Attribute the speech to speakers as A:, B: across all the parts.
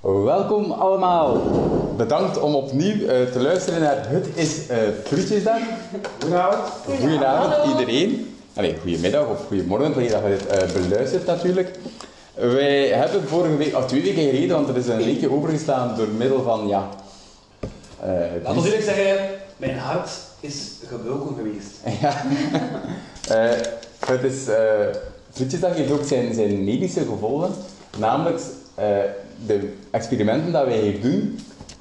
A: Welkom allemaal. Bedankt om opnieuw eh, te luisteren naar Het is eh Frietjesdag.
B: Goedenavond.
A: Goedenavond iedereen. Allee, goedemiddag of goedemorgen, wanneer dat je dit eh, beluistert natuurlijk. Wij hebben vorige week, of twee weken gereden, want er is een weekje overgestaan door middel van, ja... eh,
B: Laat ons eerlijk zeggen, mijn hart is gebroken geweest.
A: Ja. Eh, het is, eh Frietjesdag heeft ook zijn, zijn medische gevolgen. Namelijk, eh, de experimenten die wij hier doen,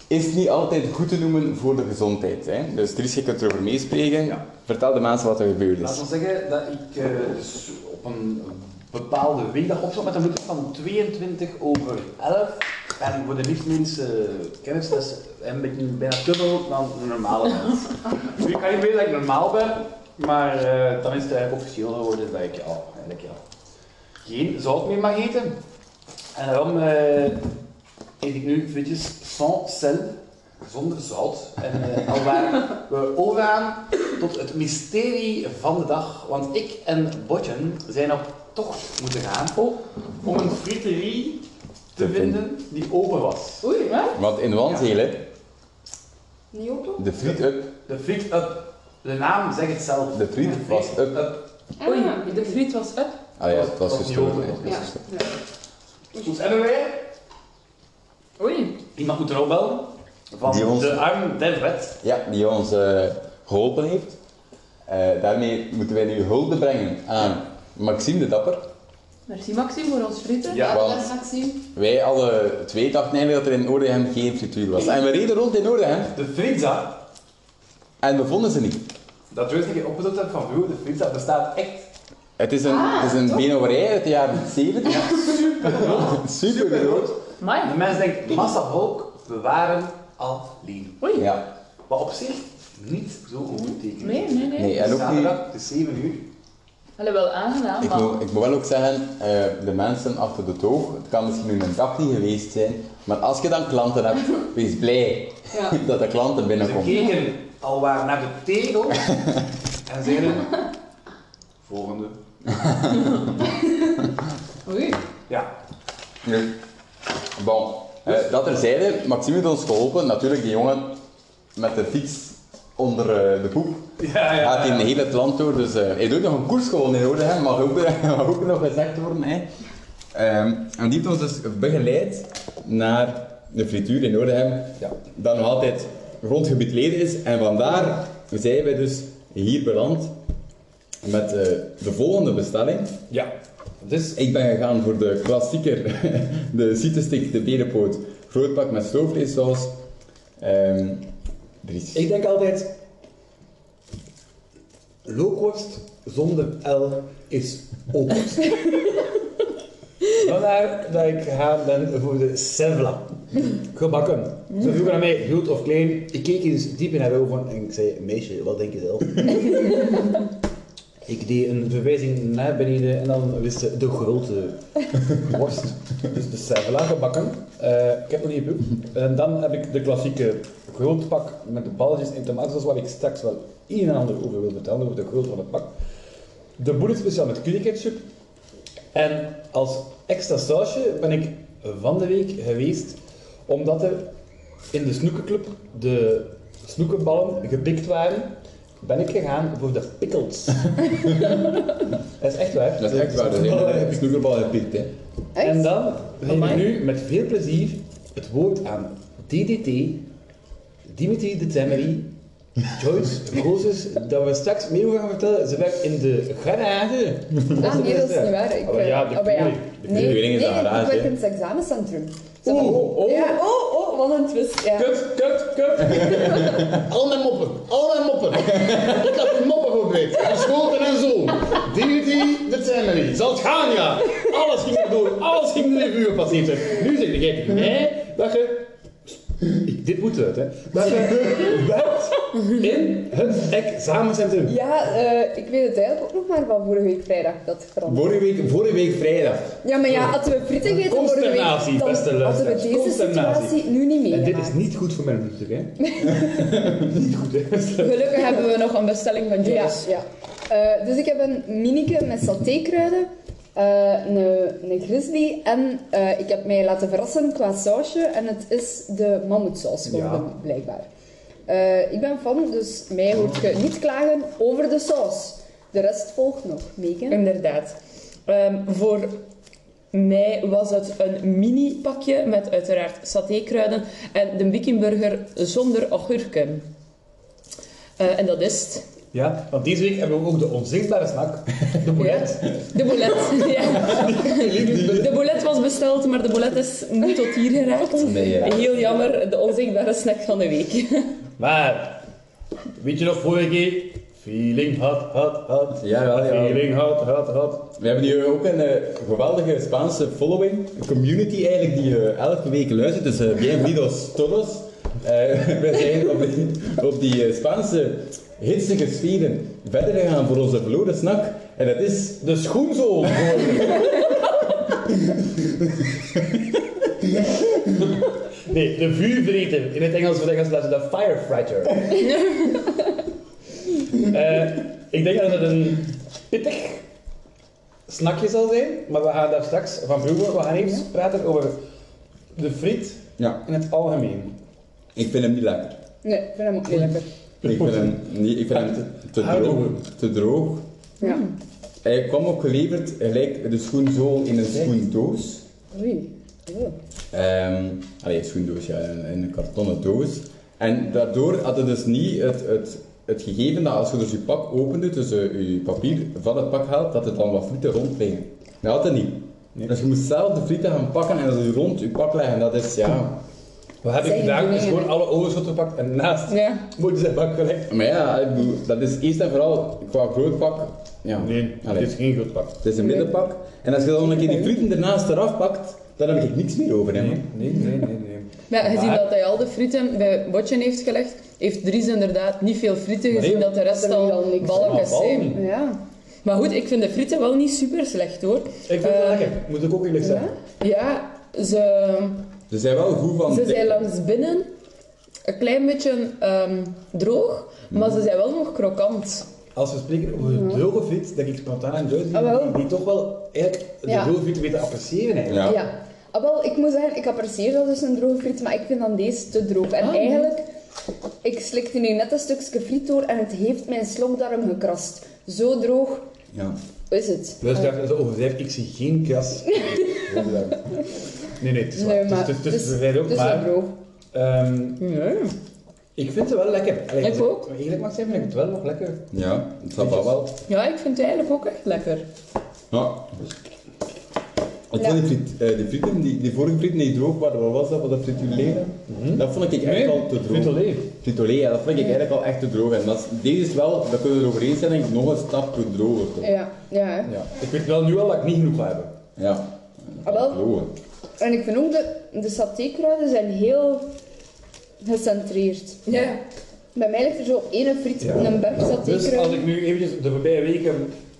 A: is niet altijd goed te noemen voor de gezondheid. Hè? Dus Dries, je kunt erover meespreken.
B: Ja.
A: Vertel de mensen wat er gebeurd
B: Laat
A: is.
B: ons zeggen dat ik eh, dus op een bepaalde windag opstond met een bloedgroep van 22 over 11. En voor de liefste mensen kennis, dat is een beetje bijna dubbel dan een normale mens. Nu, ik kan niet weten dat ik normaal ben, maar eh, dan is het eigenlijk officieel geworden dat ik ja, eigenlijk ja, geen zout meer mag eten. En daarom eh, eet ik nu frietjes sans sel, zonder zout. En eh, alwaar we overgaan tot het mysterie van de dag. Want ik en Botjen zijn op tocht moeten gaan om een friterie te
A: Te
B: vinden die open was.
C: Oei, hè?
A: Want in Wansheel, hè,
C: Niet open?
A: de friet up,
B: De friet up. De naam zegt het zelf.
A: de friet was up.
D: Ah,
C: Oei, de friet was up.
A: Ah ja, het was
B: Was niet
A: gestorven.
B: open,
A: hè. Het was
C: Ja.
A: gestorven.
B: Dus hebben wij
C: Oei.
B: iemand moet erop bellen van
A: Die ons-
B: de arm der wet.
A: Ja, die ons eh, geholpen heeft. Eh, daarmee moeten wij nu hulde brengen aan Maxime de Dapper.
C: Merci Maxime voor ons frieten.
B: Ja,
A: want-
C: dat gaat
D: Ah,
C: zien.
A: Wij alle twee dachten eigenlijk dat er in Oordehem geen frituur was. En we reden rond in Oordehem
B: De frietza,
A: en we vonden ze niet.
B: dat weet ik je opgezocht hebt van vroeger, de frietza bestaat echt
A: Het is een,
C: Ah,
A: het is een
C: toch?
A: benowerij uit de jaren 70. super groot.
B: De
C: Mai.
B: mens denkt, massa volk, we waren al lean.
C: Oei.
A: Ja,
B: Wat op zich niet zo goed teken.
C: Nee, nee, nee.
A: nee,
B: Het
A: en
B: is
A: ook niet.
B: zaterdag, het is 7 uur.
C: Allee, wel aangenaam,
A: Ik
C: maar...
A: moet, ik moet wel ook zeggen, eh, de mensen achter de toog, het kan misschien nu een dag niet geweest zijn, maar als je dan klanten hebt, wees blij
C: Ja.
A: dat de klanten
B: Ze
A: binnenkomen.
B: keken alwaar naar de tegel en zeiden, volgende.
C: Oei.
B: Ja,
A: Nu, Bon, eh, dat terzijde, Maxime heeft ons geholpen. Natuurlijk, die jongen met de fiets onder eh, de poep.
B: ja, ja.
A: Gaat in heel het land door, dus eh, hij doet nog een koers gewoon in orde, hè. Mag, ook, eh, mag ook nog gezegd worden. Hè. Ehm, en die heeft ons dus begeleid naar de frituur in Oordehem,
B: Ja.
A: dat nog altijd grondgebied leden is. En vandaar zijn wij dus hier beland met eh, de volgende bestelling.
B: ja. Dus,
A: Ik ben gegaan voor de klassieker, de citrusstick, de berenpoot, grootpak met stoofvleessaus. Ehm Dries.
E: Ik denk altijd, lookworst zonder L is opworst. Vandaar dat ik gegaan ben voor de Sevla. Gebakken. Ze vroegen aan mij, groot of klein. Ik keek eens diep in haar ogen en ik zei, meisje, wat denk je zelf? ik deed een verwijzing naar beneden en dan wist ze de grote worst. Dus de Sevla gebakken. Eh, ik heb nog niet geproefd. En dan heb ik de klassieke grootpak met de balletjes en tomatensaus, waar ik straks wel een en ander over wil vertellen, over de grootte van het pak. De boerder speciaal met curryketchup. En als extra sausje ben ik van de week geweest, omdat er in de snoekenclub de snoekenballen gepikt waren, ben ik gegaan voor de pickles. dat is echt waar.
A: Dat is echt waar, dat is een snoekerbal eh, gepikt, hè.
E: En dan geef ik
C: Amai.
E: nu met veel plezier het woord aan DDT, Dimitri de Temery, Joyce Roses, dat we straks meer over gaan vertellen. Ze werkt in de garage.
D: Ah, nee, dat is niet waar. Ik,
E: Oh, maar ja,
D: eh,
E: de
D: maar ja.
E: kleur- de
D: Nee,
A: kleuring is
D: nee,
A: een garage,
D: ik werk
A: hè.
D: in het examencentrum. Zo.
E: Oh, oh.
D: Ja, oh, oh, wat een twist. Ja.
E: Kut, kut, kut.
F: Al mijn moppen, al mijn moppen. Ik had die moppen gekweekt. En schoten en zo. Dignity, dat zijn we niet. Zal het gaan, ja. Alles ging er door, alles ging door de vuur passeert. er. Nu zeg je tegen mij dat je...
E: Dit moet eruit, hè. Dat je werkt in het examencentrum.
D: Ja, eh, ik weet het eigenlijk ook nog maar van vorige week vrijdag dat veranderd.
A: Vorige week, vorige week vrijdag.
D: Ja, maar ja, hadden we frieten gegeten vorige
E: Consternatie,
D: week, dan
E: beste
D: hadden we
E: luisteraars.
D: deze
E: Consternatie.
D: situatie nu niet
E: En
D: meer.
E: dit is niet goed voor mijn voeten, hè. niet goed, hè.
D: Gelukkig hebben we nog een bestelling van
C: Ja.
D: Ja, ja. Eh, dus ik heb een minike met satékruiden. eh, een, een grizzly. En eh, ik heb mij laten verrassen qua sausje. En het is de mammoetsaus geworden, blijkbaar. Eh, ik ben fan, dus mij hoort je niet klagen over de saus. De rest volgt nog. Megan?
G: Inderdaad. Ehm, voor mij was het een mini pakje met uiteraard satékruiden en de Wikingburger zonder augurken. Eh, en dat is het.
E: Ja, want deze week hebben we ook de onzichtbare snack. De boulet.
G: De boulet. ja. De boulet was besteld, maar de boulet is niet tot hier geraakt.
A: Nee, ja.
G: Heel jammer, de onzichtbare snack van de week.
E: Maar, weet je nog vorige keer? Feeling hot, hot, hot.
A: Ja, ja, ja.
E: Feeling hot, hot, hot.
A: We hebben hier ook een eh, geweldige Spaanse following, een community eigenlijk die eh, elke week luistert. Dus eh, bienvenidos todos. Eh, we zijn op die, op die eh, Spaanse hitsige steden verder gegaan voor onze verloren snack. En dat is
E: De schoenzool. Nee, de vuurvreter. In het Engels voor de Engels laten de firefrighter. Eh, ik denk dat het een pittig snackje zal zijn, maar we gaan daar straks van proeven. We gaan even praten over de friet
A: Ja,
E: in het algemeen.
A: ik vind hem niet lekker.
D: Nee, ik vind hem ook niet lekker.
A: Ik vind hem, niet, ik vind hem te, te droog. Te droog.
D: Ja.
A: Hij kwam ook geleverd gelijk de schoenzool in een schoendoos.
D: Oei. Oh.
A: Ehm allee, schoendoos, ja, in, in een kartonnen doos. En daardoor had het dus niet het, het, het gegeven dat als je dus je pak opende, dus eh, je papier van het pak haalt, dat het dan wat frieten rondleggen. Dat had het niet. Dus je moest zelf de frieten gaan pakken en ze rond je pak leggen. Dat is, ja...
E: Wat heb ik
D: Zijn
E: gedaan?
D: die
E: Is gewoon alle overschotten gepakt en naast
D: Ja.
E: moet zijn bak gelegd.
A: Maar ja, ik bedoel, dat is eerst en vooral qua groot pak... Ja.
E: Nee, het
A: Allee,
E: is geen goed pak.
A: het is een middenpak. En als je dan een keer die frieten ernaast eraf pakt, dan heb ik niks meer over, hè. man.
E: Nee, nee, nee, nee.
G: Ja, gezien
E: Maar-
G: dat hij al de frieten bij Botjen heeft gelegd, heeft Dries inderdaad niet veel frieten gezien,
E: Nee.
G: dat de rest
D: Dat is wel
G: al
D: niks.
G: balkjes zijn.
D: Ja.
G: Maar goed, ik vind de frieten wel niet super slecht hoor.
E: Ik vind het
G: Eh,
E: lekker, moet ik ook eerlijk zeggen.
G: Ja, ze,
A: Ze zijn Dus wel goed van...
G: ze
A: dik.
G: zijn langs binnen een klein beetje ehm, droog, maar ze zijn wel nog krokant.
E: Als we spreken over de droge friet, denk ik spontaan aan Joyce, die,
D: Mhm. Ah, wel.
E: die- die toch wel eigenlijk de
D: Ja.
E: droge friet weet te appreciëren eigenlijk.
A: Ja.
D: Ja. Ah, wel, ik moet zeggen, ik apprecieer dat dus een droge friet, maar ik vind dan deze te droog. En
G: Ah, nee.
D: eigenlijk, ik slikte nu net een stukje friet door en het heeft mijn slokdarm gekrast. Zo droog
A: Ja.
D: is het.
E: Dus daar is overdrijf, ik zie geen kras. nee, nee, het is waar.
D: Nee,
E: Het is- het
D: maar
E: is- het is
D: dus-
E: bevrijd ook,
D: Dus wel
E: maar
D: droog.
E: ehm,
G: Nee.
E: ik vind het wel lekker. Allee,
G: Ik
E: als ik
G: ook.
E: Eerlijk mag zijn, vind ik het wel nog lekker.
A: Ja, het zal wel wel.
G: Ja, ik vind het eigenlijk ook echt lekker.
A: Ja. Ik
D: Ja.
A: vond die, friet, eh, die frieten, die, die vorige frieten die droog waren, wat was dat? Was dat frituleren? Dat vond ik echt al te droog.
E: Frito-Lay.
A: Fritolee, ja, dat vond ik eigenlijk al echt te droog. En dat is, deze is wel, daar kunnen we erover eens zijn, denk ik, nog een stapje droger. toch?
D: Ja, ja. hè.
E: Ja. Ik weet wel nu al dat ik niet genoeg ga hebben.
A: Ja.
D: Ah, wel.
A: Droger.
D: En ik vind ook de, de satékruiden zijn heel gecentreerd.
G: Ja.
D: Bij mij ligt er zo één friet
E: Ja.
D: een berg
E: Dus als
D: satékruiden.
E: ik nu eventjes de voorbije weken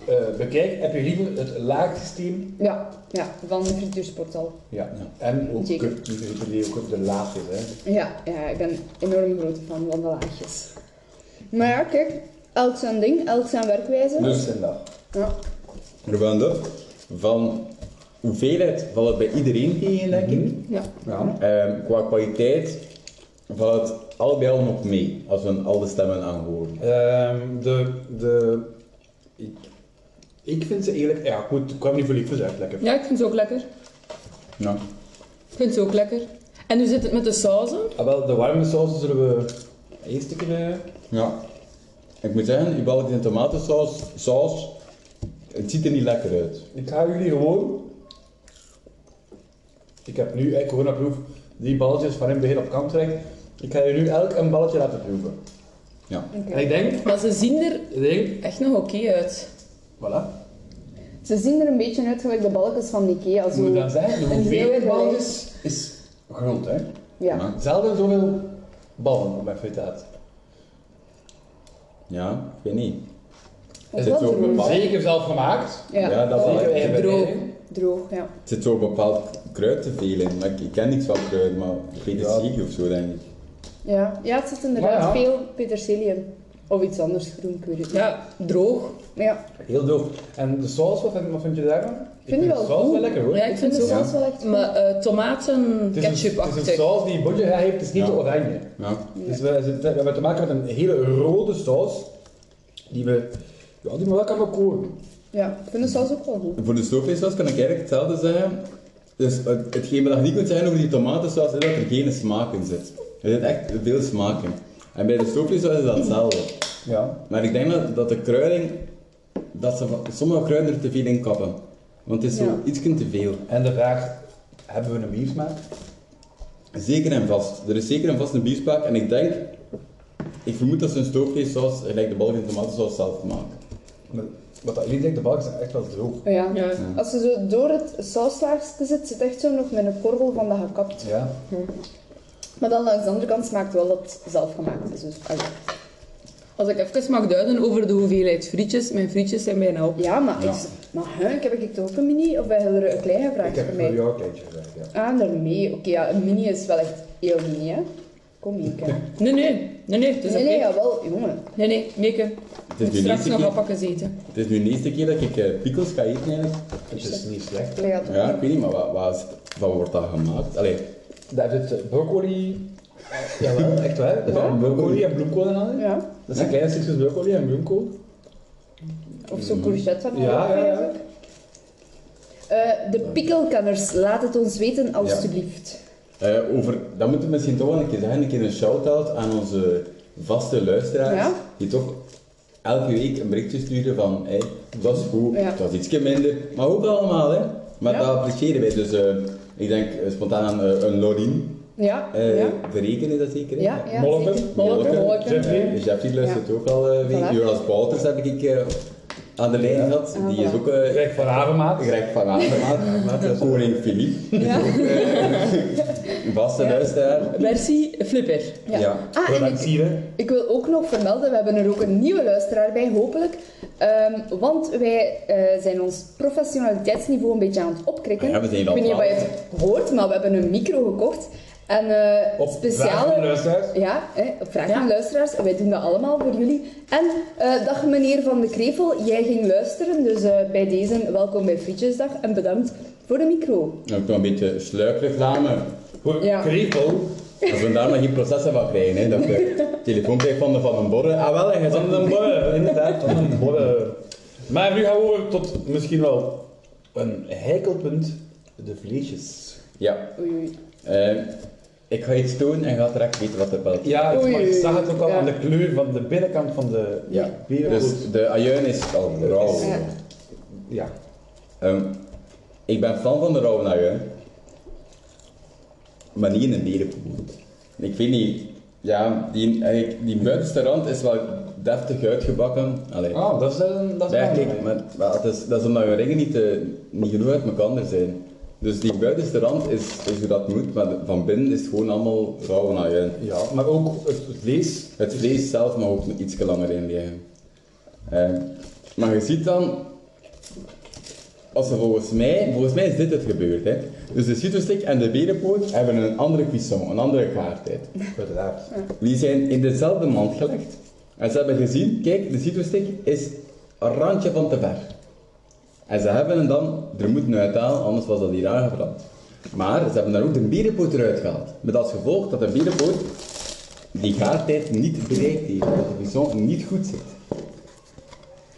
E: eh, bekijk, heb je liever het laagsysteem.
D: Ja, ja, van de frituursportal.
E: Ja. Dus- En ook
D: Zeker.
E: cup, niet de die ook cup de laagjes, hè.
D: Ja, ja, ik ben enorm grote fan van de laagjes. Maar ja, kijk, elk zijn ding, elk zijn werkwijze.
A: Dus-
E: Dus en dat.
D: Ja.
A: Ervan dat, van hoeveelheid valt het bij iedereen tegen, denk ik.
D: ja.
E: Ja.
A: Ehm, qua kwaliteit valt het al bij al nog mee, als we al de stemmen aanhoren.
E: Ehm, de, de, ik, ik vind ze eigenlijk, ja goed, ik kwam niet voor liefjes uit, lekker.
G: Ja, ik vind ze ook lekker.
A: Ja.
G: Ik vind ze ook lekker. En hoe zit het met de sauzen?
E: Ah, wel, de warme saus zullen we eerst een keer... eh,
A: Ja. Ik moet zeggen, je balk in tomatensaus, saus, het ziet er niet lekker uit.
E: ik ga jullie gewoon... Ik heb nu echt gewoon op proef die balletjes van in het begin op kant trekken. Ik ga je nu elk een balletje laten proeven.
A: Ja.
E: En ik denk,
G: Maar ze zien er
E: ik denk,
G: echt nog oké uit.
E: voilà.
D: Ze zien er een beetje uit gelijk de balkjes van Ikea.
E: Moet ik
D: Zo.
E: dan zeggen, de
D: heel
E: hoeveelheid
D: gelijk.
E: balletjes is groot, hè.
D: Ja.
A: Maar-
E: Zelden zoveel ballen op mijn fritaat.
A: Ja, ik weet niet.
D: Ook
A: Is
D: wel
A: het zo
D: droog.
A: bepaald?
E: Zeker zelf gemaakt.
D: Ja,
A: Ja, dat wel.
E: Zeker eigen
G: Droog.
E: bereiding.
D: droog, ja.
A: Er zit zo bepaald kruid te veel in. Maar ik, ik ken niks van kruid, maar petersilie of zo denk ik.
D: Ja, ja het zit inderdaad
E: Maar ja.
D: veel peterselie in. Of iets anders groen, ik weet het niet.
G: Ja, droog.
D: Ja,
E: Heel doof. En de saus, wat vind, wat vind je daarvan?
D: Ik vind die wel
E: de saus
D: goed.
E: wel lekker hoor.
G: Ja,
D: ik vind de
G: het ook.
D: saus wel echt...
G: Maar eh, tomaten,
E: Het is een- Het is een
G: ketchup-achtig.
E: saus die Bodje heeft, het is niet
A: Ja.
E: de oranje.
A: Ja.
E: Dus we, we hebben te maken met een hele rode saus, die we, ja, die we wel kunnen koken.
D: Ja, ik vind de saus ook wel goed.
A: Voor de stoofvleessaus kan ik eigenlijk hetzelfde zeggen. Dus het- hetgeen we nog niet kunt zeggen over die tomatensaus is dat er geen smaak in zit. Er zit echt veel smaak in. En bij de stoofvleessaus is dat hetzelfde.
E: Ja.
A: Maar ik denk dat, dat de kruiding, dat ze van- sommige kruiden er te veel in kappen. Want het is zo
D: Ja.
A: iets te veel.
E: En de vraag, hebben we een biefsmaak?
A: Zeker en vast. Er is zeker en vast een biefspraak en ik denk, ik vermoed dat ze een stoofvleessaus, gelijk de Belgische tomatensaus, zelf maken.
E: Maar Wat dat jullie denken, de balken zijn echt wel droog.
D: Ja.
G: Ja.
D: Als je zo door het sauslaagste zit, zit echt zo nog met een korrel van dat gekapt.
E: Ja.
D: Maar dan langs de andere kant smaakt wel dat het zelfgemaakt is. Dus, allee.
G: Als ik even mag duiden over de hoeveelheid frietjes, mijn frietjes zijn bijna op.
D: ja, maar,
A: Ja.
D: Ik, maar hè, ik heb ik toch ook een mini? Of wij hebben er een kleine vraag
E: Ik heb
D: voor
E: voor
D: mij?
E: jou een kleintje gevraagd, ja.
D: Ah, daarmee. Oké, ja, een mini is wel echt heel mini, hè? Kom, Mieke.
G: Nee, nee, nee, nee, het is
D: Nee, nee,
G: oké.
D: jawel, jongen.
G: Nee, nee, Meke,
A: Het is,
G: moet
A: nu de
G: straks
A: eerste
G: nog
A: keer,
G: oppakken zitten.
A: het is nu de eerste keer dat ik eh, pickles ga eten eigenlijk.
E: Het is niet slecht.
D: Allee, ja, toch?
A: Ja, ik weet niet, maar wat, wat, is- wat wordt dat gemaakt? Allee,
E: Daar zit eh, broccoli... Jawel, echt waar. Er zijn broccoli en bloemkool en al. in.
D: Ja.
E: Dat zijn kleine stukjes broccoli en bloemkool.
D: Of zo'n courgette. van
E: Ja, ja, ja.
D: eigenlijk. Eh, de pikkelkanners, laat het ons weten alstublieft.
A: eh, over, dat moeten we misschien toch wel een keer zeggen, een keer een shout-out aan onze vaste luisteraars,
D: Ja.
A: die toch elke week een berichtje sturen van, hey, het was goed,
D: Ja.
A: het was ietsje minder, maar ook allemaal, hè. Maar
D: Ja.
A: dat appreciëren wij, dus eh, ik denk eh, spontaan aan eh, een Lorien.
D: Ja, ja,
A: Eh,
D: ja.
A: Verreken is dat zeker? hè?
D: ja,
E: Molken,
D: zeker.
A: molken,
D: molken.
E: Jeffrey.
A: Dus Jeffrey luistert ook al eh
D: Voilà.
A: weer. Jonas Wouters heb ik eh, aan de lijn gehad.
D: Ah,
A: Die is
D: voilà.
A: ook eh
E: Greg van Havermaat.
A: Greg van Avermaat. Koning Filip. Een Eh, vaste luisteraar.
G: Merci, Flipper.
D: Ja.
A: Ja.
D: Ah, en ik,
E: Productieve.
D: ik wil ook nog vermelden, we hebben er ook een nieuwe luisteraar bij, hopelijk. Ehm, want wij eh, zijn ons professionaliteitsniveau een beetje aan het opkrikken.
A: Ja, we zijn
D: ik
A: al
D: weet niet of je
A: twaalf.
D: het hoort, maar we hebben een micro gekocht. En
E: Op
D: eh,
E: vraag van de
D: speciale...
E: luisteraars.
D: Ja, hè, op vraag van luisteraars. Wij doen dat allemaal voor jullie. En eh, dag meneer Van de Krevel, jij ging luisteren. Dus eh, bij deze, welkom bij Frietjesdag en bedankt voor de micro.
A: En Ook nog een beetje sluikreclame.
E: Voor
D: Ja.
E: Krevel.
A: Als we daar nog geen processen van krijgen, hè, dat we telefoon krijgen van de Van den Borre. Ah wel, en je
E: Van
A: zegt-
E: een borre, inderdaad, van een borre. Maar nu gaan we over tot misschien wel een heikelpunt, de vleesjes.
A: Ja.
D: Oei, oei.
A: Eh, ik ga iets doen en je gaat direct weten wat er wel
E: Ja, het-
D: Oei,
E: maar ik zag het ook al
D: ja.
E: aan de kleur van de binnenkant van de
A: Ja.
E: wereld.
A: Dus de ajuin is al rauw.
D: Ja.
E: ja.
A: Ehm, ik ben fan van de rauwe ajuin, maar niet in een berenpoot. Ik weet niet, ja, die, eigenlijk, die buitenste rand is wel deftig uitgebakken. Allee,
E: Ah, dat is een... Dat is
A: ja,
E: een
A: kijk, maar, maar het is, dat is omdat je ringen niet, eh, niet genoeg uit elkaar zijn. Dus die buitenste rand is, is hoe dat moet, maar de- van binnen is het gewoon allemaal rauwe ajuin.
E: Ja, maar ook het vlees.
A: Het vlees zelf mag ook nog iets langer in liggen. Eh, maar je ziet dan, als er volgens mij, volgens mij is dit het gebeurd. Hè? Dus de citrusstick en de berenpoot hebben een andere cuisson, een andere klaartijd.
E: Uiteraard.
A: Die zijn in dezelfde mand gelegd. En ze hebben gezien, kijk, de citrusstick is een randje van te ver. En ze hebben hem dan er moeten uithalen, anders was dat hier aangebrand. Maar ze hebben daar ook de berenpoot eruit gehaald. Met als gevolg dat de berenpoot die gaartijd niet bereikt heeft. Dat de buisson niet goed zit.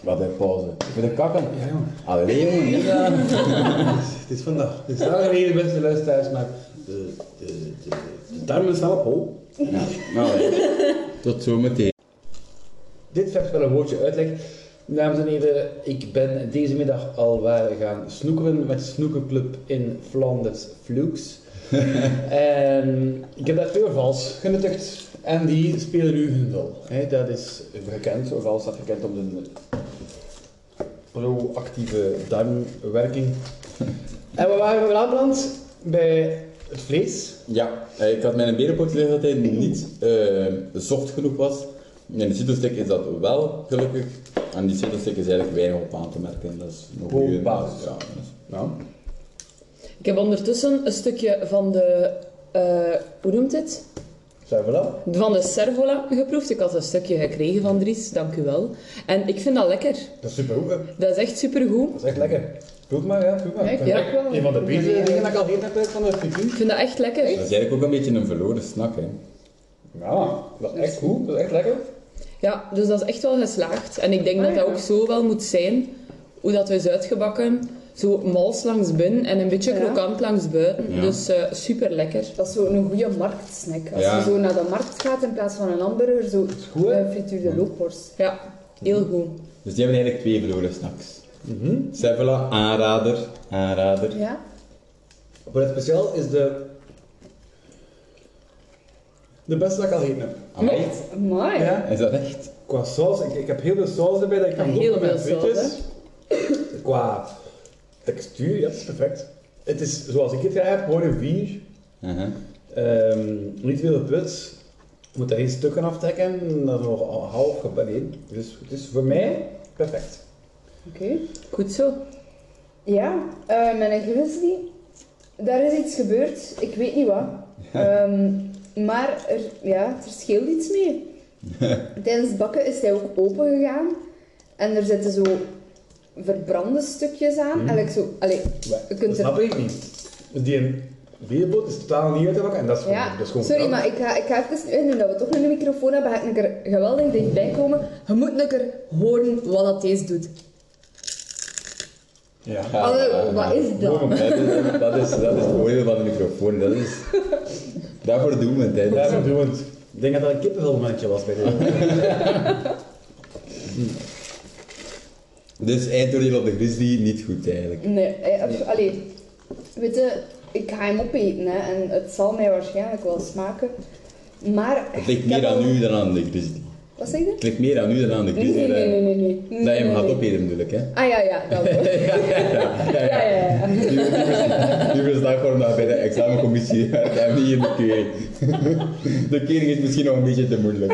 A: Wat een pauze. Voor de kakken. Ja, jongen. Allee, jongen. niet aan.
E: Het is vandaag. Het is lang geleden, beste luisteraars, maar de, de, de, de darmen staan op hol.
A: Ja, nou, ja. Tot zometeen.
E: Dit vergt wel een woordje uitleg. Dames en heren, ik ben deze middag alwaar gaan snoekeren met Snoekerclub in Flanders Flux. en ik heb daar veel vals genuttigd en die spelen nu hun rol. Hè, dat is gekend, vals staat gekend om zijn proactieve darmwerking. en we waren weer aanbeland bij het vlees.
A: Ja, eh, ik had mijn berenpoot gezegd dat hij niet eh, zocht genoeg was. In de citrusstick is dat wel, gelukkig. En die citrusstick is eigenlijk weinig op aan te merken. Dat is nog
E: Gewoon
A: goeie-
E: basis.
A: Ja, dat is-
E: Nou,
G: Ik heb ondertussen een stukje van de, eh, hoe noemt dit?
E: Servola.
G: Van de servola geproefd. Ik had een stukje gekregen van Dries, dank u wel. En ik vind dat lekker.
E: Dat is super goed, hè.
G: Dat is echt supergoed.
E: Dat is echt lekker. Proef het maar, ja. Proef maar.
D: Ja, ik
E: vind het
D: ook
E: echt
D: wel.
E: Een van de betere
D: Ja.
E: Dus, eh, dingen dat ik al heel heb uit van de frituur.
G: Ik vind dat echt lekker.
A: Dat is eigenlijk ook een beetje een verloren snack, hè.
E: Ja, dat is echt goed. Dat is echt lekker.
G: Ja, dus dat is echt wel geslaagd. En ik denk dat dat ook zo wel moet zijn, hoe dat is uitgebakken. Zo mals langs binnen en een beetje
D: Ja.
G: krokant langs buiten.
A: Ja.
G: Dus super lekker.
D: Dat is zo'n goede marktsnack. Als
A: Ja.
D: je zo naar de markt gaat in plaats van een hamburger, zo
E: goed, hè?
D: eh, frituur de loopworst.
G: Ja, heel goed.
A: Dus die hebben eigenlijk twee verloren snacks. mm aanrader, aanrader.
D: Ja?
E: Wat het speciaal is de... De beste dat ik al gegeten heb.
A: Amai,
D: Amai.
E: Ah, Ja.
A: is dat echt?
E: Qua saus, ik, ik heb heel veel saus erbij dat ik kan
G: Heel
E: doen met mijn
G: veel saus,
E: frietjes. Qua textuur, ja, het is perfect. Het is, zoals ik het graag heb, gewoon een vier.
A: Aha.
E: Ehm, niet veel put. Je moet er geen stukken aftrekken. Dat is nog al half gebaneerd. Dus het is voor mij perfect.
D: Oké.
G: Goed zo.
D: Ja, eh mijn grizzly, daar is iets gebeurd, ik weet niet wat. Ehm, maar er, ja, er scheelt iets mee. Tijdens het bakken is hij ook open gegaan en er zitten zo verbrande stukjes aan. En ik zo, allee,
E: Maar
D: je
E: dat
D: kunt er.
E: snap ik niet. Dus die veerboot is totaal niet uit te pakken en dat is gewoon,
D: Ja,
E: dat is gewoon
D: sorry,
E: veranderd.
D: maar ik ga, ik ga even in, omdat we toch een microfoon hebben, ga ik er geweldig dichtbij komen. Je moet een keer horen wat dat deze doet.
E: Ja.
A: Ja,
D: Allee, wat is dat?
A: Dat is, dat, is, dat is het voordeel van de microfoon. Dat is, daarvoor doen we het. Hè. Dat is-
E: Daarom doen we het. Ik denk dat dat een kippenvelmomentje was bij dit.
A: Dus eindoordeel op de grizzly, niet goed eigenlijk.
D: Nee, eh, pff, allee. Weet je, ik ga hem opeten hè, en het zal mij waarschijnlijk wel smaken. Maar.
A: Het
D: ik
A: ligt meer
D: heb
A: aan
D: al-
A: u dan aan de grizzly.
D: Wat zeg je?
A: Het ligt meer aan u dan aan de
D: Nee,
A: grizzly.
D: nee, nee, nee. nee, nee, nee,
A: Dat je hem
D: nee,
A: gaat
D: nee.
A: opeten natuurlijk, hè.
D: Ah ja, ja, dat wel. ja, ja, ja. ja.
A: Die versta- die verslag voor dat bij de examencommissie werkt en niet in de keuring. De keuring is misschien nog een beetje te moeilijk.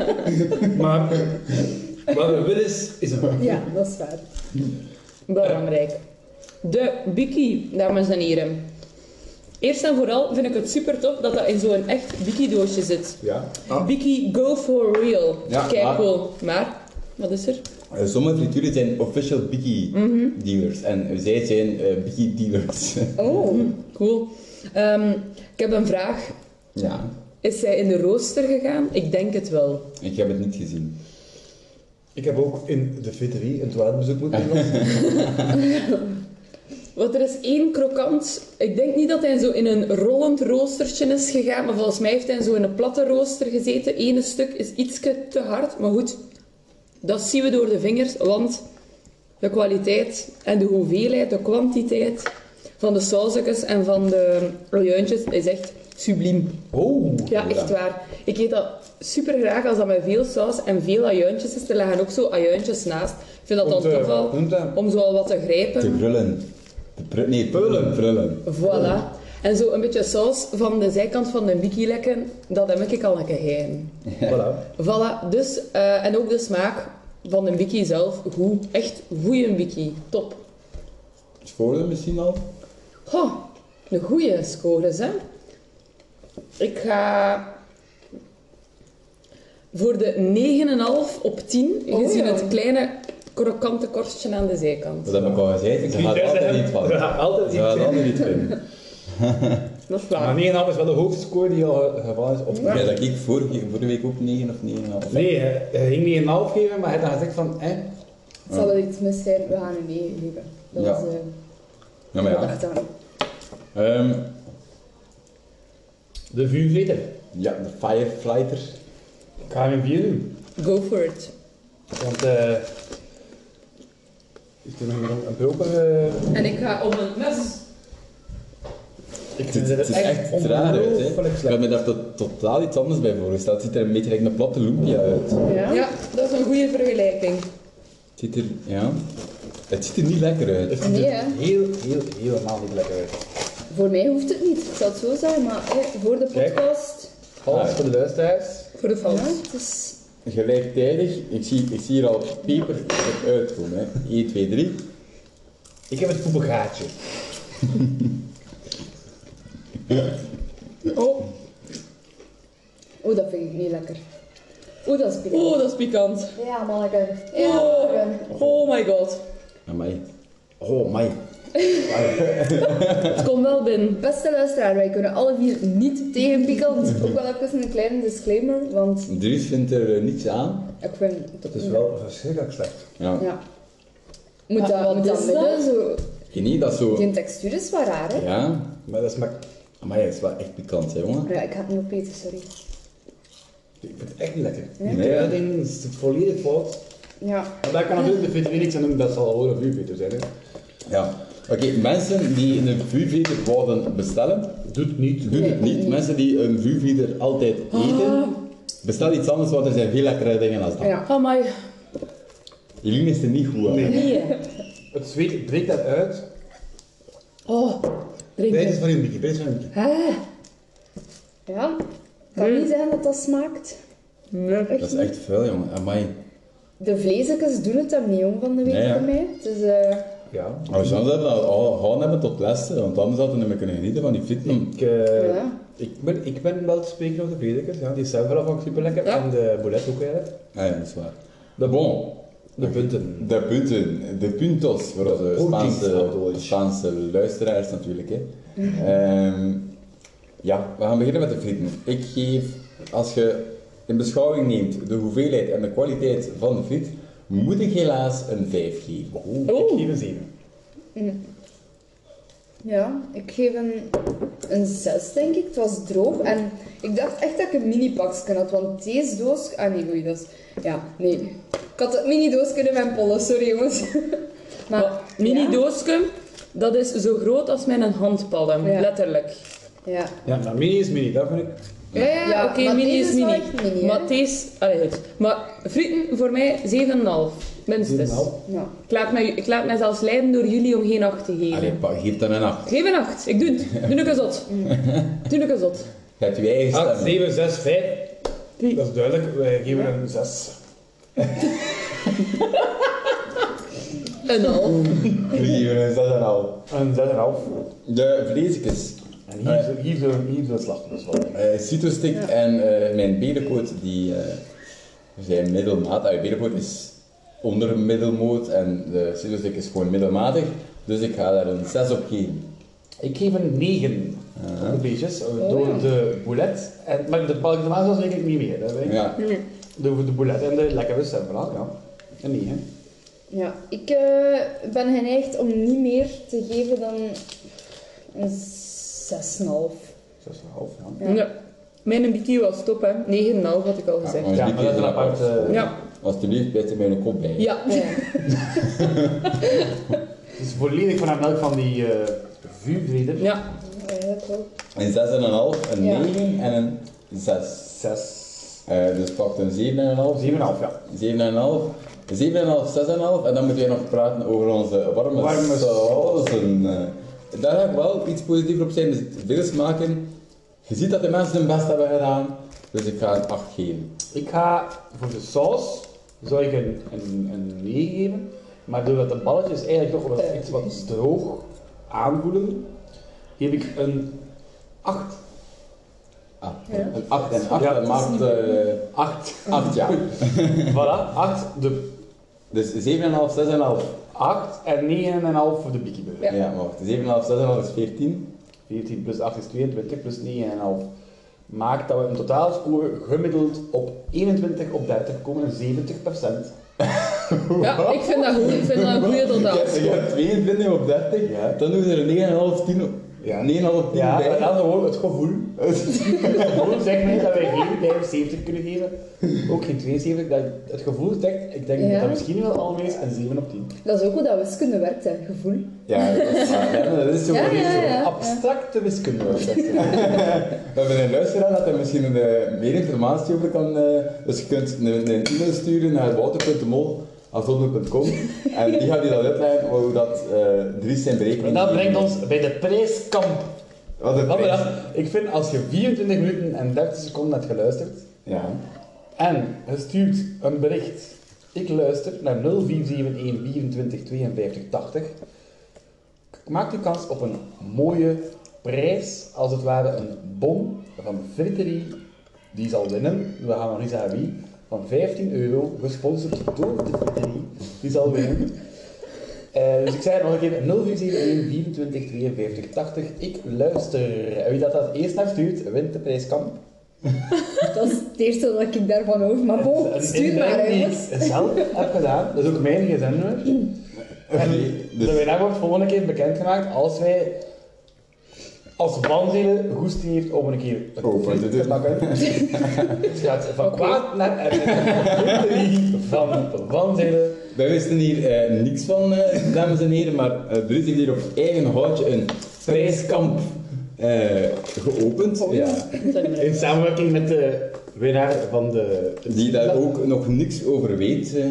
E: maar wat we willen is, is een...
D: Ja, dat is waar.
G: Belangrijk. De biki, dames en heren. Eerst en vooral vind ik het super tof dat dat in zo'n echt biki-doosje zit.
E: Ja.
G: Biki, go for real.
A: Ja,
G: Kijk
A: maar-
G: cool. Maar, wat is er?
A: Eh, Sommige frituren zijn official biggie
D: Mhm.
A: dealers en zij zijn eh, biggie dealers.
D: Oh,
G: Cool. Ehm, ik heb een vraag.
A: ja,
G: Is zij in de rooster gegaan? Ik denk het wel.
A: ik heb het niet gezien.
E: Ik heb ook in de fitterie een toiletbezoek moeten doen.
G: Want er is één krokant. Ik denk niet dat hij zo in een rollend roostertje is gegaan, maar volgens mij heeft hij zo in een platte rooster gezeten. Ene stuk is ietske te hard, maar goed, dat zien we door de vingers, want de kwaliteit en de hoeveelheid, de kwantiteit van de sausjes en van de rojuintjes is echt subliem.
E: Oh,
G: Ja, echt waar. Ik eet dat super graag als dat met veel saus en veel ajuintjes is. Er liggen ook zo ajuintjes naast. Ik vind dat
E: Om
G: dan
E: te-
G: toch wel
E: om te-
G: om zo al wat te
A: Te
G: grijpen.
A: brullen. Te pru- nee, prullen, prullen.
G: Voilà. En zo een beetje saus van de zijkant van de wiki lekken, dat heb ik al een geheim.
E: voilà.
G: Voilà, dus, eh, en ook de smaak van de wiki zelf, goed. Echt goeie wiki, top.
A: Het voordeel misschien al?
G: Goh, een goeie scores, hè. Ik ga voor de 9,5 op 10,
D: Oh,
G: gezien
D: ja.
G: het kleine krokante korstje aan de zijkant.
A: Dat heb ik al gezegd. Ze gaat altijd niet van.
E: Ja, altijd
A: Ze
E: iets.
A: gaat
E: hè.
A: altijd niet van.
G: Dat is
E: Maar
G: waar.
E: 9,5 is wel de hoogste score die al ge- gevallen is op
A: Ja, dat ik vorige, vorige week ook 9 of 9,5.
E: Nee, hij hij ging niet een half geven, maar hij had dan gezegd van, hè,
D: zal er iets mis zijn? We gaan hem meegeven. Dat
A: Ja.
D: was eh,
A: Ja, maar ja.
D: gedacht aan.
A: Ehm,
E: de vuurvreter.
A: ja, de Fireflighter.
E: Ik ga hem in vier doen.
G: Go for it.
E: Want, eh... is er nog een, een proper... eh,
G: En ik ga op een mes.
E: ik
A: Het,
E: vind het
A: het is echt raar uit, hè.
E: ongelooflijk
A: Ik had
E: slecht.
A: me daar tot- totaal iets anders bij voorgesteld. Het ziet er een beetje like een platte lumpia uit.
D: Ja?
G: Ja, dat is een goede vergelijking.
A: Het ziet er, ja... Het ziet er niet lekker uit.
E: Het ziet er
D: Nee, hè.
E: heel, heel, helemaal niet lekker uit.
D: Voor mij hoeft het niet, ik zal het zo zeggen, maar eh, voor de
E: Kijk.
D: podcast.
E: Alles
A: Ah.
E: voor de luisteraars.
G: Voor de fans.
D: Ja, het is.
A: Gelijktijdig, ik zie, ik zie hier al peper op uitkomen, hè. 1, 2, 3.
E: Ik heb het poepelgaatje.
G: Oh.
D: Oeh, dat vind ik niet lekker. Oeh, dat is pikant.
G: Oeh, Oh, dat is pikant.
D: Ja, manneke. Ja,
G: Oh,
D: manneke.
G: oh my god.
H: Amai. Oh, my.
G: Het komt wel binnen.
D: Beste luisteraar, wij kunnen alle vier niet tegen pikant. Ook wel even een kleine disclaimer, want
A: Dries vindt er eh, niets aan.
D: ik vind het ook
I: Het is
D: niet
I: wel verschrikkelijk slecht.
A: Ja.
D: lekker. Ja. Moet
G: Maar
D: dat,
G: wat
D: moet dat
G: is
D: midden
G: dat?
D: zo...
A: Je niet dat zo.
D: Die textuur is wel raar, hè?
A: Ja.
H: Maar dat smaakt...
A: Maar het is wel echt pikant, hè, jongen.
D: Ja, ik ga het niet opeten, sorry.
H: Ik vind het echt niet lekker.
D: Ja.
H: Nee, dat ding is volledig fout.
D: Ja.
H: Maar daar kan natuurlijk de VTW niks aan doen, dat zal gewoon een vuurveter zijn. Hè.
A: Ja. Oké, mensen die een vuurveter wouden bestellen,
H: Doet niet.
A: doen het niet. Mensen die een vuurveter altijd eten, bestel iets anders, want er zijn veel lekkere dingen als dat.
D: Ja.
G: Oh my.
A: Jullie is er niet goed aan.
G: Nee.
H: Het zweet breekt daaruit.
G: Oh, drink
H: Prijs
G: het.
H: is van een beetje, prijs is van een beetje.
D: Ja. Ik kan niet zeggen dat dat smaakt.
A: Dat is echt vuil, jongen. Amai.
D: De vleesjes doen het hem niet om van de week
A: Nee, ja.
D: voor mij. Dus, eh
I: Ja.
A: Maar we zouden dat al gewoon hebben tot lasten, want anders hadden we niet meer kunnen genieten van die fitness.
I: Ik, eh,
D: Ja.
I: ik, ben, ik ben wel te spreken over de predikers, ja. die zijn vooral ook super lekker.
G: Ja.
I: En de boulet ook eigenlijk.
A: Ah ja, dat is waar. De bon.
I: De punten.
A: De punten, de puntos voor onze
I: puntos,
A: Spaanse,
I: Deutsch.
A: Spaanse luisteraars natuurlijk. Hè. Ehm, ja, we gaan beginnen met de frieten. Ik geef, als je in beschouwing neemt de hoeveelheid en de kwaliteit van de friet, moet ik helaas een 5 geven.
I: Ik
G: Oeh.
I: geef een 7.
D: ja, ik geef een, een 6, denk ik. Het was droog. En ik dacht echt dat ik een mini-pakje had, want deze doos... Ah nee, oei, dat is... Ja, nee. Ik had het mini-doos kunnen mijn pollen, sorry jongens.
G: Maar, mini
D: ja.
G: doosje, dat is zo groot als mijn handpalm.
D: Ja.
G: Letterlijk.
D: Ja.
I: Ja, maar mini is mini, dat vind ik.
G: Ja, ja,
D: Ja,
G: oké,
D: maar
G: mini
D: deze
G: is
D: is wel
G: mini.
D: echt mini, hè?
G: maar deze, allee, goed. Maar frieten voor mij 7,5. Minstens.
D: Ja.
G: Ik laat, mij, ik laat mij zelfs leiden door jullie om geen 8 te geven.
A: Allee, pa, geef dan een 8.
G: Geef een 8. Ik doe het. Doe ik een zot. Doe ik een zot.
A: Je hebt je
E: Ah,
A: eigen
I: 8,
A: stem.
I: 7, 6, 5. Dat is duidelijk, wij geven een 6.
G: Een half.
A: Drie, eh, zes en al.
I: Een 6,5.
A: De vleesjes.
E: En hier, zo- hier, zo- hier zo het slachtoffer van.
A: eh Citrostick en eh, mijn berenkoot die eh, zijn middelmaat. Ah, berenkoot is onder middelmoot en de citrostick is gewoon middelmatig. Dus ik ga daar een 6 op geven.
E: Ik geef een 9 op de beetjes,
G: Oh,
E: eh, door de boulet. En, maar de palk de maas weet ik niet meer. Dat weet ik.
A: Ja.
E: Door de boulet en de lekkere stemverhaal, ja. Een 9.
D: Ja, ik eh, ben geneigd om niet meer te geven dan een 6,5.
E: 6,5, ja.
G: Ja. Mijn bikini was top, hè. 9,5 had ik al gezegd.
A: ons
E: Ja, maar
A: liedje
E: dat is een
A: apart.
E: apart, eh,
G: Ja.
A: Alsjeblieft, bijt er mij een kop bij.
G: Ja.
E: Het is volledig van melk van die eh vuurvreder.
G: Ja.
D: Eigenlijk wel.
A: Een 6,5, een
D: Ja.
A: 9 en een 6.
E: 6,
A: Eh, dus pakt een 7,5,
E: 7,5, ja.
A: 7,5. 7,5, 6,5 en dan moeten we nog praten over onze warme,
E: Warme
A: sauzen. Eh, Daar ga ik wel iets positiefs op zijn, dus veel smaken. Je ziet dat de mensen hun best hebben gedaan, dus ik ga een 8 geven.
E: Ik ga voor de saus zou ik een, een, een 9 geven. Maar doordat de balletjes eigenlijk toch wat, iets wat droog aanvoelen, geef ik een 8.
A: Ah,
D: Ja.
A: Een 8 en 8
E: Ja,
A: dat
E: dat
A: maakt eh
E: 8.
A: 8 ja.
E: Voilà, 8. De
A: Dus 7,5, 6,5.
E: 8 en 9,5 voor de Biki Burger.
A: Ja, maar wacht, 7,5, 6,5 is 14.
E: 14 plus 8 is 22 plus 9,5. Maakt dat we een totaalscore gemiddeld op 21 op 30 komen, een 70
G: ja, ik vind dat goed. Ik vind dat een goede
A: Je
G: totaal.
A: hebt- je hebt 22 op 30,
E: Ja.
A: dan doen ze er 9,5, 10 op.
E: Ja.
A: 9,5 10
E: Ja,
A: bij.
E: maar dat is gewoon het gevoel. Het gevoel zegt mij dat wij geen 75 kunnen geven, ook geen 72. Dat het gevoel zegt, ik denk
D: Ja.
E: dat dat misschien wel alweer een 7 op 10.
D: Dat is ook hoe dat wiskunde werkt, hè. Gevoel.
A: Ja, dat is waar. Ja, maar dat is zo.
D: Ja,
A: dat is
D: ja,
A: zo.
D: ja.
E: Abstracte wiskunde. wordt dat.
A: We hebben een luisteraar dat er misschien eh, meer informatie over kan. eh, dus je kunt een, een e-mail sturen naar wouter.mol.com en die gaat je dan uitleggen hoe dat eh Dries zijn berekening.
E: En dat brengt ons bij de prijskamp.
A: Wat een
E: Want
A: prijs.
E: ja, ik vind als je 24 minuten en 30 seconden hebt geluisterd
A: Ja.
E: en je stuurt een bericht, ik luister naar 0471 24 52 80, maak je kans op een mooie prijs, als het ware een bon van Fritterie die zal winnen, we gaan nog niet zeggen wie, van 15 euro, gesponsord door de Twitterie, die zal winnen. Eh, dus ik zeg het nog een keer, 0471 24 52 80, ik luister. En wie dat dat eerst naar stuurt, wint de prijskamp.
D: Dat is het eerste dat ik daarvan hoor. Maar bon, stuur maar, hè,
E: die
D: jongens.
E: ik zelf heb gedaan, dat is ook mijn gsm-nummer. En
A: dus-
J: dus-
E: de winnaar wordt volgende keer bekendgemaakt als wij als wanselen goesting heeft om een keer een
A: Open
E: conflict
A: te
E: te
A: doen.
E: maken. Het gaat van
D: Oké.
E: kwaad naar erger. van wanselen.
A: Wij wisten hier eh, niks van, eh, dames en heren, maar eh Bruce heeft hier op eigen houtje een prijskamp eh, geopend.
E: Oh,
A: ja.
J: In samenwerking met de winnaar van de...
A: Die daar ook nog niks over weet. eh.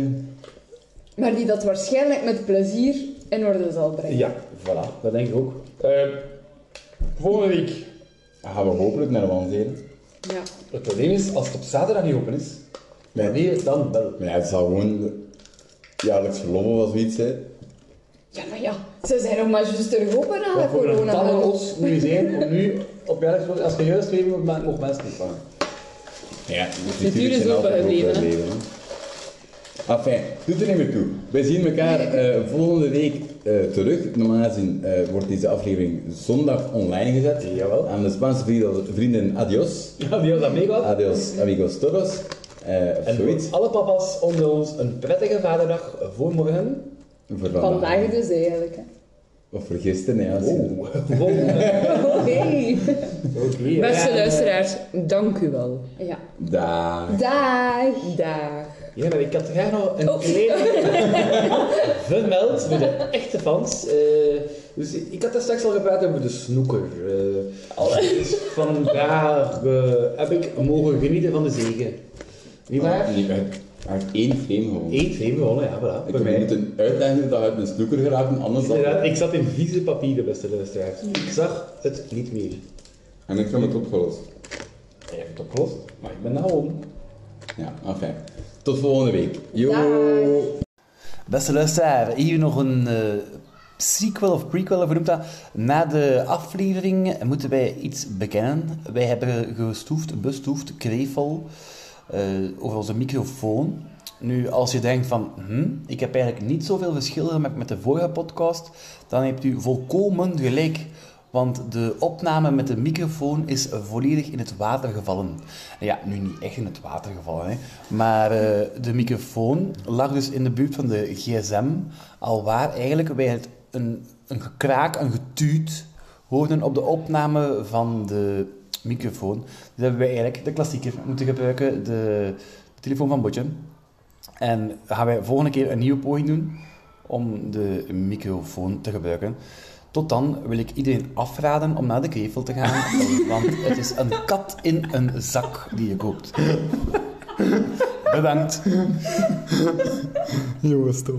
D: Maar die dat waarschijnlijk met plezier in orde zal brengen.
E: Ja, voilà, dat denk ik ook. Eh, volgende week.
A: gaan we hopelijk naar Wanzeren.
D: Ja.
E: Het probleem is, als het op zaterdag niet open is, wanneer dan wel?
A: Maar ja, het zal gewoon jaarlijks verlof of zoiets zijn.
D: Ja, maar ja, ze zijn nog maar juist terug open na de
E: Wat voor een
D: corona.
E: talle ons nu zijn om nu op jaarlijks als je juist leven moet maken, mogen mensen niet vangen.
A: Ja, de
G: Natuurlijk is overgebleven, hè.
A: Enfin, doet er niet meer toe. Wij zien elkaar eh, volgende week eh, terug. Normaal gezien eh, wordt deze aflevering zondag online gezet.
E: Jawel.
A: Aan de Spaanse vrienden, vrienden adios.
E: Ja, die was dat meegehad.
A: Adios, amigos todos. Eh, of
E: En voor
A: zoiets.
E: alle papa's onder ons een prettige vaderdag voor morgen.
A: Voor
D: Vandaag dus eigenlijk. Hè.
A: Of voor gisteren, ja. als je-
E: Oh.
D: Oh, Oké.
E: Oké.
G: Beste luisteraars, dank u wel.
D: Ja.
A: Daag.
D: Dag.
G: Dag.
E: Ja, maar ik had graag nog een kleine vermeld voor de echte fans. Eh, dus ik had daar straks al gepraat over de snoeker. Eh, dus vandaag eh, heb ik mogen genieten van de zegen. Niet waar?
A: Nee, uit, uit één frame gewoon.
E: Eén frame gewonnen, ja, voilà.
A: Ik
E: Bij mij.
A: moet een uitdaging dat we uit een snoeker geraken, anders dan.
E: Inderdaad, ik zat in vieze papieren, beste luisteraars. Ik zag het niet meer.
A: En ik heb het opgelost.
E: Je hebt het opgelost, maar ik ben nou om.
A: Ja, enfin. Tot volgende week. Yo.
D: Dag.
B: Beste luisteraar, hier nog een eh, sequel of prequel, of hoe noemt dat? Na de aflevering moeten wij iets bekennen. Wij hebben gestoefd, bestoefd, krevel eh, over onze microfoon. Nu, als je denkt van, hm, ik heb eigenlijk niet zoveel verschil gemaakt met de vorige podcast, dan hebt u volkomen gelijk. Want de opname met de microfoon is volledig in het water gevallen. Ja, nu niet echt in het water gevallen, hè. maar eh, de microfoon lag dus in de buurt van de gsm, alwaar eigenlijk wij het een, een gekraak, een getuut hoorden op de opname van de microfoon. Dus hebben wij eigenlijk de klassieker moeten gebruiken, de telefoon van Botje. En gaan wij volgende keer een nieuwe poging doen om de microfoon te gebruiken. Tot dan wil ik iedereen afraden om naar de krevel te gaan, want het is een kat in een zak die je koopt. Bedankt. Jongens toch.